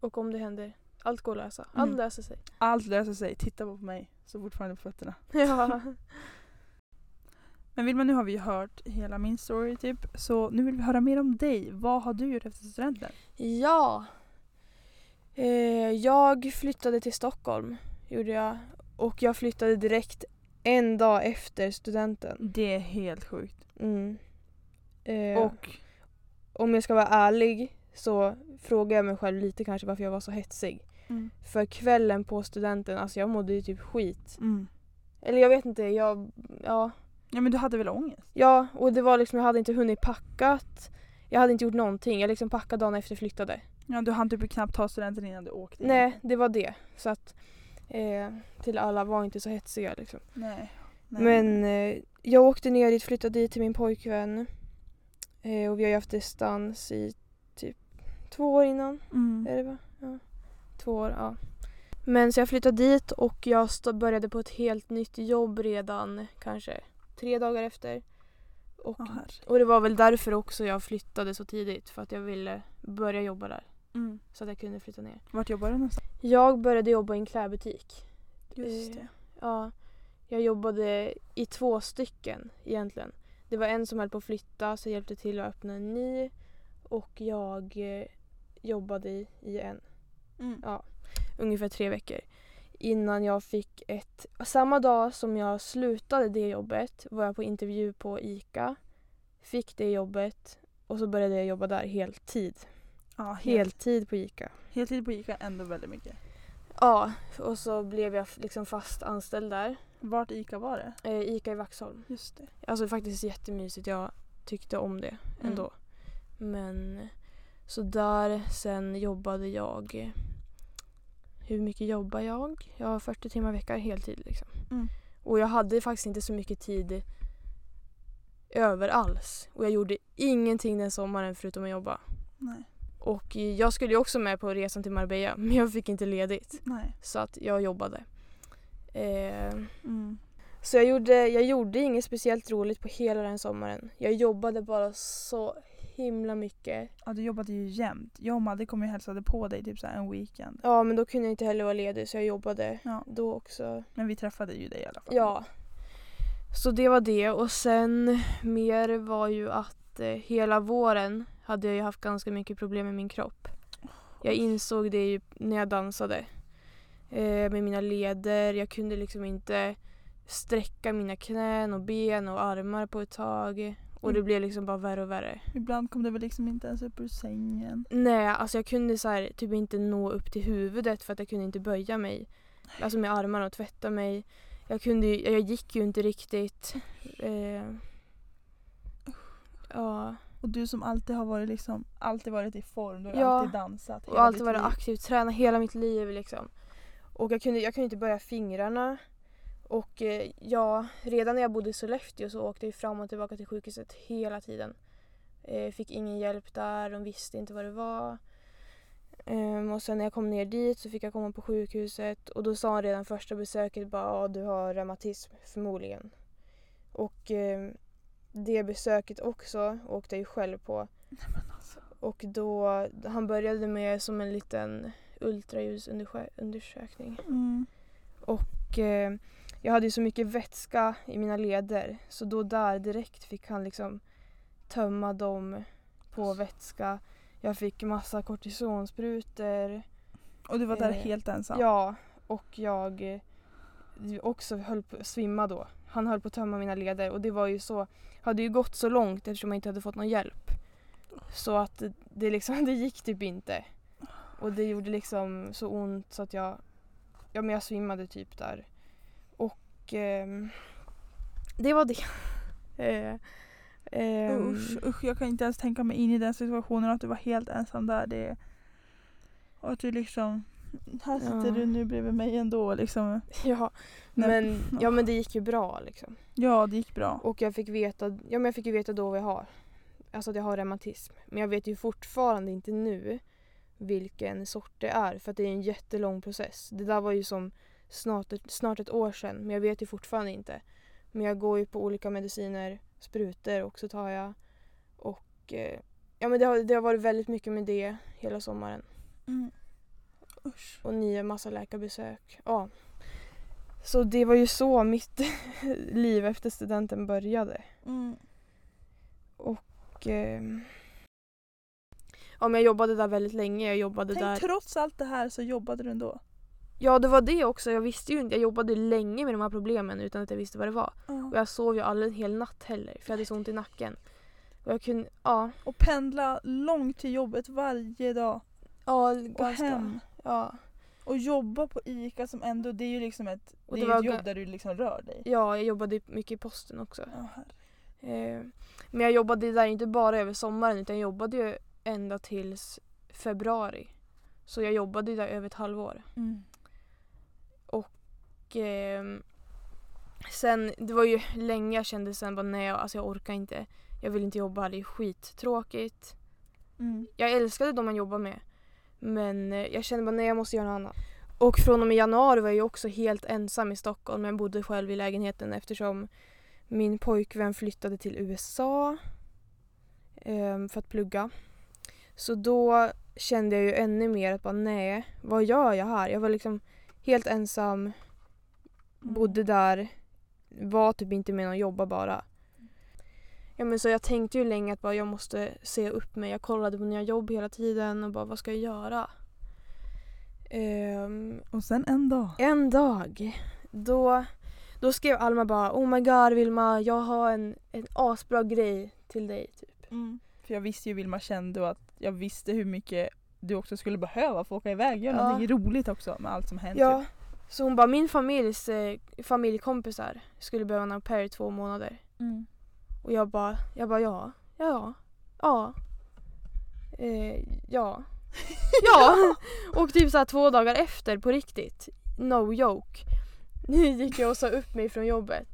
Och om det händer, allt går att lösa. Allt
Mm.
löser (laughs) sig.
Allt löser sig. Titta bara på mig. Så fortfarande på fötterna.
Ja.
Men Vilma, nu har vi ju hört hela min story typ. Så nu vill vi höra mer om dig. Vad har du gjort efter studenten?
Ja. Eh, jag flyttade till Stockholm gjorde jag. Och jag flyttade direkt en dag efter studenten.
Det är helt sjukt.
Mm. Eh, och
Och
om jag ska vara ärlig så frågar jag mig själv lite kanske varför jag var så hetsig.
Mm.
För kvällen på studenten, alltså jag mådde ju typ skit.
Mm.
Eller jag vet inte, jag... Ja.
Ja men du hade väl ångest?
Ja, och det var liksom, jag hade inte hunnit packat. Jag hade inte gjort någonting. Jag liksom packade dagen efter jag flyttade.
Ja du hann typ knappt ta studenten innan du åkte in.
Nej, det var det. Så att eh, till alla, var inte så hetsiga liksom.
Nej. Nej.
Men eh, jag åkte ner dit, flyttade dit till min pojkvän. Eh, och vi har ju haft distans i typ två år innan.
Mm.
Är det va? Ja. Två år, ja. Men så jag flyttade dit och jag sta- började på ett helt nytt jobb redan kanske tre dagar efter. Och,
Ja, herregud.
och det var väl därför också jag flyttade så tidigt. För att jag ville börja jobba där.
Mm.
Så att jag kunde flytta ner.
Vart jobbar du någonstans?
Jag började jobba i en klädbutik.
Just
Eh,
det.
Ja, jag jobbade i två stycken egentligen. Det var en som höll på att flytta så jag hjälpte till att öppna en ny och jag eh, jobbade i, i en
Mm.
ja, ungefär tre veckor. Innan jag fick ett... Samma dag som jag slutade det jobbet var jag på intervju på ICA. Fick det jobbet och så började jag jobba där heltid.
Ja, helt.
Heltid på ICA.
Heltid på ICA ändå väldigt mycket.
Ja, och så blev jag liksom fast anställd där.
Vart ICA var det?
Eh, ICA i Vaxholm.
Just det.
Alltså det är faktiskt jättemysigt. Jag tyckte om det
Mm.
ändå. Men så där sen jobbade jag. Hur mycket jobbar jag? Jag har 40 timmar i veckan heltid liksom.
Mm.
Och jag hade faktiskt inte så mycket tid över alls. Och jag gjorde ingenting den sommaren förutom att jobba.
Mm. Nej.
Och jag skulle ju också med på resan till Marbella (laughs) men jag fick inte ledigt.
Nej.
Så att jag jobbade. Eh,
Mm.
så jag gjorde, jag gjorde inget speciellt roligt på hela den sommaren. Jag jobbade bara så himla mycket.
Ja, du jobbade ju jämt. Jag och Madde kom ju och hälsade på dig typ så här en weekend.
Ja men då kunde jag inte heller vara ledig så jag jobbade
Ja.
då också.
Men vi träffade ju dig i alla fall.
Ja. Så det var det och sen mer var ju att eh, hela våren hade jag ju haft ganska mycket problem med min kropp. Jag insåg det ju när jag dansade. Eh, med mina leder, jag kunde liksom inte sträcka mina knän och ben och armar på ett tag. Och det
Mm.
blev liksom bara värre och värre.
Ibland kom du väl liksom inte ens upp ur sängen.
Nej, alltså jag kunde så här, typ inte nå upp till huvudet för att jag kunde inte böja mig. Alltså med armarna och tvätta mig. Jag, kunde, ju- jag gick ju inte riktigt. Eh, ja,
Och du som alltid har varit liksom, alltid varit i form, du har
Ja.
alltid dansat.
och
hela
alltid
ditt
varit
liv.
aktiv, tränat hela mitt liv liksom. Och jag kunde, jag kunde inte böja fingrarna. Och eh, ja, redan när jag bodde i Sollefteå så åkte jag fram och tillbaka till sjukhuset hela tiden. Eh, fick ingen hjälp där, de visste inte vad det var. Ehm, och sen när jag kom ner dit så fick jag komma på sjukhuset och då sa han redan första besöket bara ja du har reumatism förmodligen. Och ehm, det besöket också åkte jag ju själv på. Och då, han började med som en liten ultraljudsundersökning.
Mm.
Och eh, jag hade ju så mycket vätska i mina leder så då där direkt fick han liksom tömma dem på vätska. Jag fick massa kortisonsprutor.
Och du var där
Eh,
helt ensam.
Ja, och jag eh, ju också höll på att svimma då. Han höll på att tömma mina leder och det var ju så, hade ju gått så långt eftersom jag inte hade fått någon hjälp. Så att det- det liksom, (laughs) det gick typ inte. Och det gjorde liksom så ont så att jag, ja men jag svimmade typ där. Och ehm, det var det. (laughs) eh, ehm,
Usch, usch, jag kan inte ens tänka mig in i den situationen att du var helt ensam där. Det... Och att du liksom, här sitter
Ja.
du nu bredvid mig ändå liksom.
Ja,
Nej,
men, ja men det gick ju bra liksom.
Ja, det gick bra.
Och jag fick veta, ja men jag fick ju veta då vad jag har. Alltså att jag har reumatism. Men jag vet ju fortfarande inte nu vilken sort det är för att det är en jättelång process. Det där var ju som snart ett, snart ett år sedan men jag vet ju fortfarande inte. Men jag går ju på olika mediciner, sprutor också tar jag. Och eh, ja men det har, det har varit väldigt mycket med det hela sommaren.
Mm. Usch.
Och nya massa läkarbesök. Ja. Så det var ju så mitt (laughs) liv efter studenten började.
Mm.
Och, eh,
ehm,
ja, men jag jobbade där väldigt länge. Jag jobbade
Tänk,
där.
trots allt det här så jobbade du ändå.
Ja, det var det också. Jag visste ju inte. Jag jobbade länge med de här problemen utan att jag visste vad det var.
Ja.
Och jag sov ju aldrig en hel natt heller för jag hade så ont i nacken. Och jag kunde, ja.
Och pendla långt till jobbet varje dag.
Ja,
Och hem.
Ja.
Och jobba på ICA som ändå, det är ju liksom ett,
Och
det är ju
det var
ett
ga-
jobb där du liksom rör dig.
ja, jag jobbade mycket i posten också.
Ja, herre.
Eh, men jag jobbade där inte bara över sommaren utan jag jobbade ju ända tills februari. Så jag jobbade ju där över ett halvår.
Mm.
Och, ehm, sen, det var ju länge jag kände sen bara nej, alltså jag orkar inte. Jag vill inte jobba här, det är skittråkigt.
Mm.
Jag älskade de man jobbar med. Men eh, jag kände bara nej, jag måste göra något annat. Och från och med januari var jag ju också helt ensam i Stockholm. Jag bodde själv i lägenheten eftersom min pojkvän flyttade till USA ehm, för att plugga. Så då kände jag ju ännu mer att bara nej, vad gör jag här? Jag var liksom helt ensam
Mm.
bodde där, var typ inte med någon, jobba bara. Ja, men så jag tänkte ju länge att bara, jag måste se upp mig. Jag kollade på nya jobb hela tiden och bara vad ska jag göra? Ehm,
Och sen en dag.
en dag, då, då skrev Alma bara Oh my god Vilma, jag har en, en asbra grej till dig. Typ.
Mm. För jag visste ju Vilma kände och att jag visste hur mycket du också skulle behöva för att åka iväg. Gör
Ja.
någonting roligt också med allt som typ. hänt.
Ja, så hon bara min familjs eh, familjekompisar skulle behöva en au pair i två månader.
typ. Mm.
Och jag bara, jag bara ja, ja, ja. Eh, ja. ja! Och typ så här två dagar efter på riktigt. No joke. (laughs) Nu gick jag och sa upp mig från jobbet.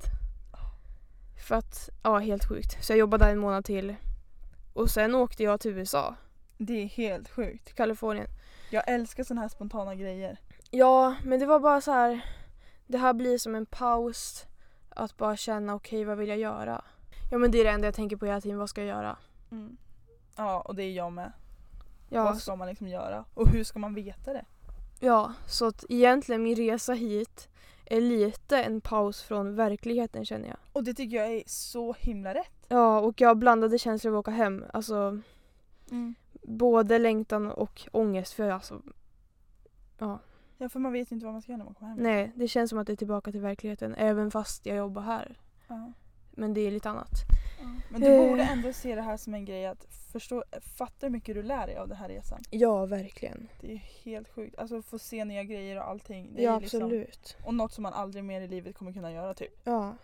För att, ja helt sjukt. Så jag jobbade där en månad till. Och sen åkte jag till USA,
Det är helt sjukt.
till Kalifornien.
Jag älskar såna här spontana grejer.
Ja, men det var bara så här. Det här blir som en paus. Att bara känna, okej vad vill jag göra? Ja men det är det enda jag tänker på hela tiden, vad ska jag göra?
Ja, och det är jag med.
Mm. Ja,
Vad ska man liksom göra? Och hur ska man veta det?
ja så att egentligen min resa hit är lite en paus från verkligheten känner jag.
Och det tycker jag är så himla rätt.
Ja, och jag har blandade känslor av att åka hem. Alltså både längtan och ångest för alltså,
Ja, för man vet ju inte vad man ska göra när man kommer hem.
nej det känns som att det är tillbaka till verkligheten även fast jag jobbar här.
Ja.
Men det är lite annat.
Men du
Eh.
borde ändå se det här som en grej att förstå, fatta hur mycket du lär dig av den här resan.
Ja, verkligen.
Det är ju helt sjukt. Alltså få se nya grejer och allting. Det
Ja,
är ju liksom,
absolut.
och något som man aldrig mer i livet kommer kunna göra typ.
Ja.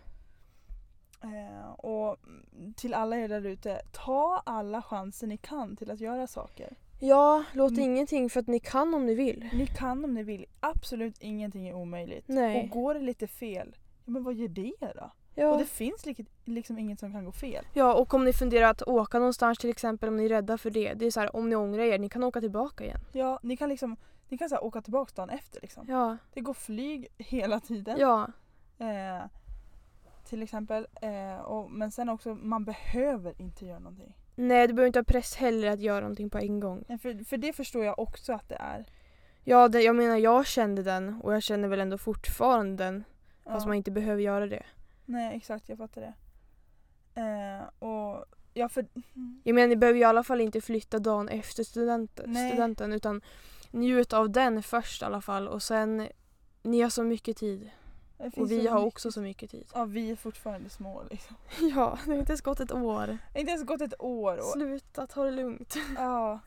Eh, och mm, till alla er där ute, ta alla chanser ni kan till att göra saker.
Ja, låt
Mm.
ingenting för att ni kan om ni vill.
Ni kan om ni vill, absolut ingenting är omöjligt.
Nej.
Och går det lite fel, ja, men vad gör det då?
Ja.
Och det finns li- liksom inget som kan gå fel.
ja, och om ni funderar att åka någonstans till exempel, om ni är rädda för det. Det är så här, om ni ångrar er, ni kan åka tillbaka igen.
Ja, ni kan liksom ni kan så här, åka tillbaka dagen efter liksom.
Ja,
Det går flyg hela tiden.
ja,
Eh, till exempel. Eh, och, men sen också, man behöver inte göra någonting.
nej du behöver inte ha press heller att göra någonting på en gång.
Nej, För, för det förstår jag också att det är.
Ja, det, jag menar jag kände den och jag känner väl ändå fortfarande den. Fast
Ja.
man inte behöver göra det.
Nej exakt, jag fattar det. Eh, och ja, för,
Jag menar ni behöver ju i alla fall inte flytta dagen efter studenten,
Nej.
studenten utan njut av den först i alla fall och sen ni har så mycket tid
det finns
och vi
så
har
mycket-
också så mycket tid. (laughs)
Ja, vi är fortfarande små liksom.
Ja, det har inte ens gått ett år.
Inte ens gått ett år. Och,
Sluta, ta det lugnt.
ja.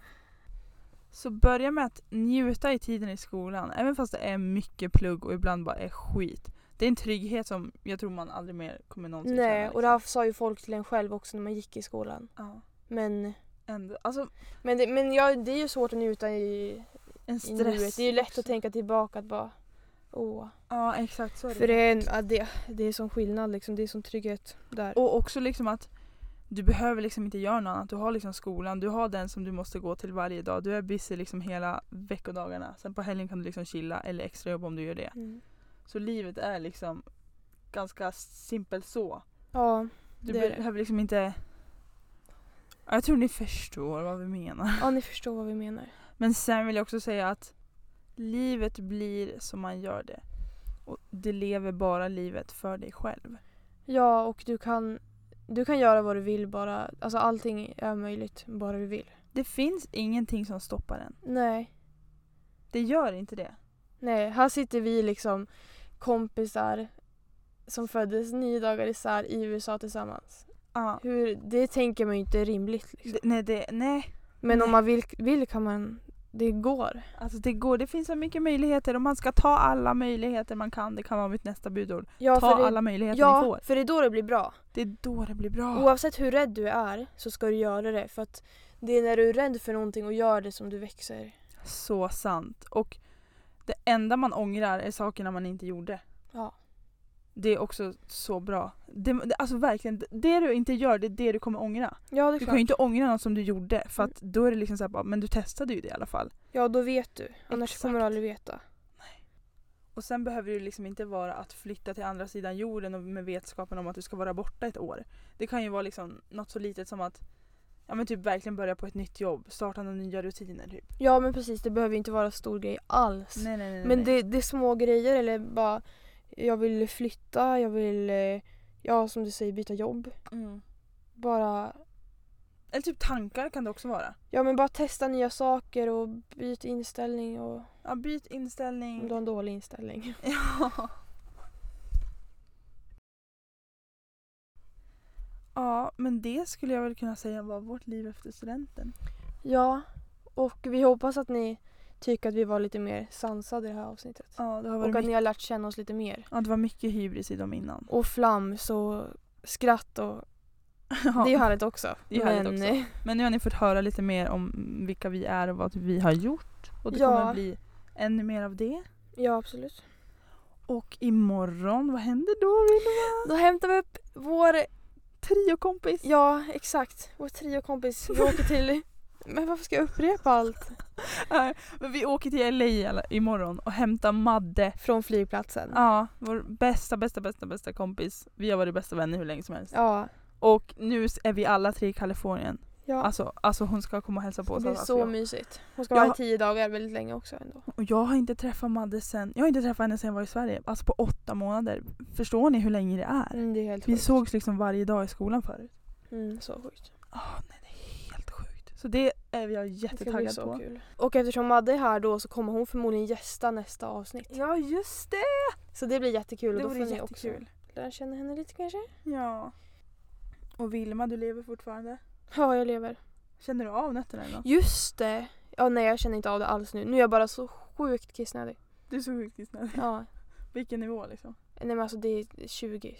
Så börja med att njuta i tiden i skolan, även fast det är mycket plugg och ibland bara är skit. Det är en trygghet som jag tror man aldrig mer kommer någonsin känna.
Nej, och det
liksom.
här sa ju folk till en själv också när man gick i skolan.
ja.
Men,
ändå, alltså,
men, det, men ja, det är ju svårt att njuta i,
en
i
stress.
nuet. Det är ju lätt
också.
att tänka tillbaka att bara åh.
Ja exakt så är
För det är, en, ja, det, det är sån skillnad liksom, det är sån trygghet där.
Och också liksom att du behöver liksom inte göra något annat. Du har liksom skolan, du har den som du måste gå till varje dag. Du är busy liksom hela veckodagarna. Sen på helgen kan du liksom chilla eller extra jobb om du gör det.
Mm.
Så livet är liksom ganska simpelt så.
Ja,
Du
Det är det.
behöver liksom inte... Ja, Jag tror ni förstår vad vi menar.
ja, ni förstår vad vi menar.
Men sen vill jag också säga att livet blir som man gör det. Och du lever bara livet för dig själv.
Ja, och du kan, du kan göra vad du vill bara. Alltså allting är möjligt bara du vill.
Det finns ingenting som stoppar en.
Nej.
Det gör inte det.
Nej, här sitter vi liksom kompisar som föddes nio dagar isär i USA tillsammans.
Ja.
Hur, det tänker man ju inte är rimligt. Liksom.
Det, nej, det, nej.
Men
Nej.
om man vill, vill kan man... Det går.
Alltså det går. Det finns så mycket möjligheter och man ska ta alla möjligheter man kan. Det kan vara mitt nästa budord.
Ja,
ta
det,
alla möjligheter ni
ja
får.
för det är då det blir bra.
Det är då det blir bra.
Oavsett hur rädd du är så ska du göra det. För att det är när du är rädd för någonting och gör det som du växer.
Så sant. Och det enda man ångrar är sakerna man inte gjorde.
Ja.
Det är också så bra. Det, det- alltså verkligen, det du inte gör det är det du kommer ångra.
Ja, det
Du kan
är
ju
klart.
inte ångra något som du gjorde för
Mm.
att då är det liksom såhär bara, men du testade ju det i alla fall.
Ja, då vet du. Annars
Exakt.
kommer du aldrig veta.
Och sen behöver det ju liksom inte vara att flytta till andra sidan jorden och med vetskapen om att du ska vara borta ett år. Det kan ju vara liksom något så litet som att ja, men typ verkligen börja på ett nytt jobb, starta några nya rutiner typ.
Ja, men precis. Det behöver ju inte vara en stor grej alls.
Nej, nej, nej,
Men det, det är små grejer eller bara jag vill flytta, jag vill, eh, ja som du säger byta jobb.
Mm.
Bara,
Eller typ tankar kan det också vara.
ja men bara testa nya saker och byt inställning och
Ja, byt
om
inställning.
du har en dålig inställning.
(laughs) Ja. Ja, men det skulle jag väl kunna säga var vårt liv efter studenten.
Ja, och vi hoppas att ni tycker att vi var lite mer sansade i det här avsnittet.
Ja, det, har varit
Och att ni
mycket,
har lärt känna oss lite mer.
ja, det var mycket hybris i dem innan. (laughs)
Och flams och skratt och
Ja.
det är ju härligt också.
Det är ju härligt
men,
också.
eh,
Men nu har ni fått höra lite mer om vilka vi är och vad vi har gjort. Och det
Ja.
kommer bli ännu mer av det.
Ja absolut.
Och imorgon, vad händer då Vilma?
Då hämtar vi upp vår,
Triokompis.
ja exakt, vår triokompis. Vi (laughs) åker till, men varför ska jag upprepa allt?
Nej, Men vi åker till LA i alla- imorgon och hämtar Madde.
Från flygplatsen.
Ja, vår bästa, bästa, bästa, bästa kompis. Vi har varit bästa vänner hur länge som helst.
Ja.
Och nu är vi alla tre i Kalifornien.
ja.
Alltså, alltså hon ska komma och hälsa på
det
oss.
blir
alla
så
tre.
mysigt. alltså, Hon ska
Jag
vara i
har-
tio dagar, väldigt länge också ändå.
Och jag har inte träffat Madde sen, jag har inte träffat henne sen jag var i Sverige. Alltså på åtta månader. Förstår ni hur länge det är?
Mm, det är helt
Vi
sjukt.
sågs liksom varje dag i skolan förut.
Mm, så sjukt.
Ah, nej, det är helt sjukt. Så det är jag
Det ska bli
jättetaggad
så
på.
kul. Och eftersom Madde är här då så kommer hon förmodligen gästa nästa avsnitt.
Ja, just det!
Så det blir jättekul.
Det
och då
vore
får ni också
jättekul.
lära känna henne lite kanske.
Ja. Och Vilma, du lever fortfarande?
Ja, jag lever.
Känner du av nätterna idag?
Just det! Ja, nej jag känner inte av det alls nu. Nu är jag bara så sjukt kissnödig.
Du är så sjukt kissnödig.
Ja.
Vilken nivå liksom?
Nej men alltså det är 20.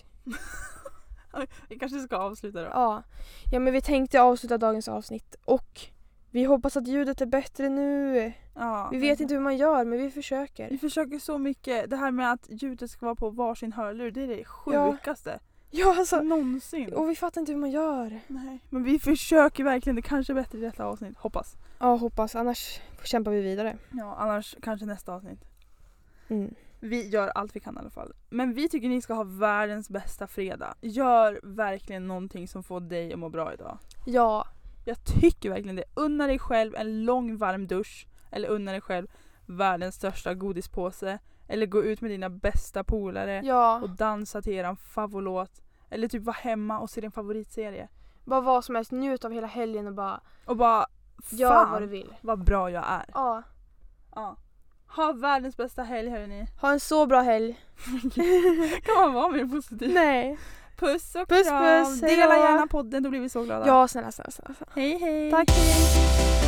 Vi kanske ska avsluta då.
Ja. Ja men vi tänkte avsluta dagens avsnitt och vi hoppas att ljudet är bättre nu.
Ja,
Vi
men-
vet inte hur man gör men vi
Vi
försöker. (laughs)
försöker så mycket. Det här med att ljudet ska vara på varsin hörlur, det är det
Ja.
sjukaste
Ja alltså.
någonsin.
Och vi fattar inte hur man gör.
Nej. Men vi försöker verkligen, det kanske är bättre i detta avsnitt, hoppas.
Ja hoppas annars kämpar vi vidare.
Ja, annars kanske nästa avsnitt.
Mm.
Vi gör allt vi kan i alla fall. Men vi tycker ni ska ha världens bästa fredag. Gör verkligen någonting som får dig att må bra idag.
Ja.
Jag tycker verkligen det. Unna dig själv en lång varm dusch. Eller unna dig själv världens största godispåse. Eller gå ut med dina bästa polare
Ja.
och dansa till eran favoritlåt. Eller typ vara hemma och se din favoritserie.
Bara vad som helst. Njut av hela helgen och bara
Och bara
gör
fan
vad du
vad,
vill.
bra jag är.
Ja.
Ja. Ha världens bästa helg
(laughs)
hörni.
Ha en så bra helg.
Kan man vara mer positiv?
Nej.
Puss och
Puss,
kram.
puss, hej
Dela
då.
gärna podden då blir vi så glada.
Ja snälla snälla snälla. snälla.
Hej hej.
Tack.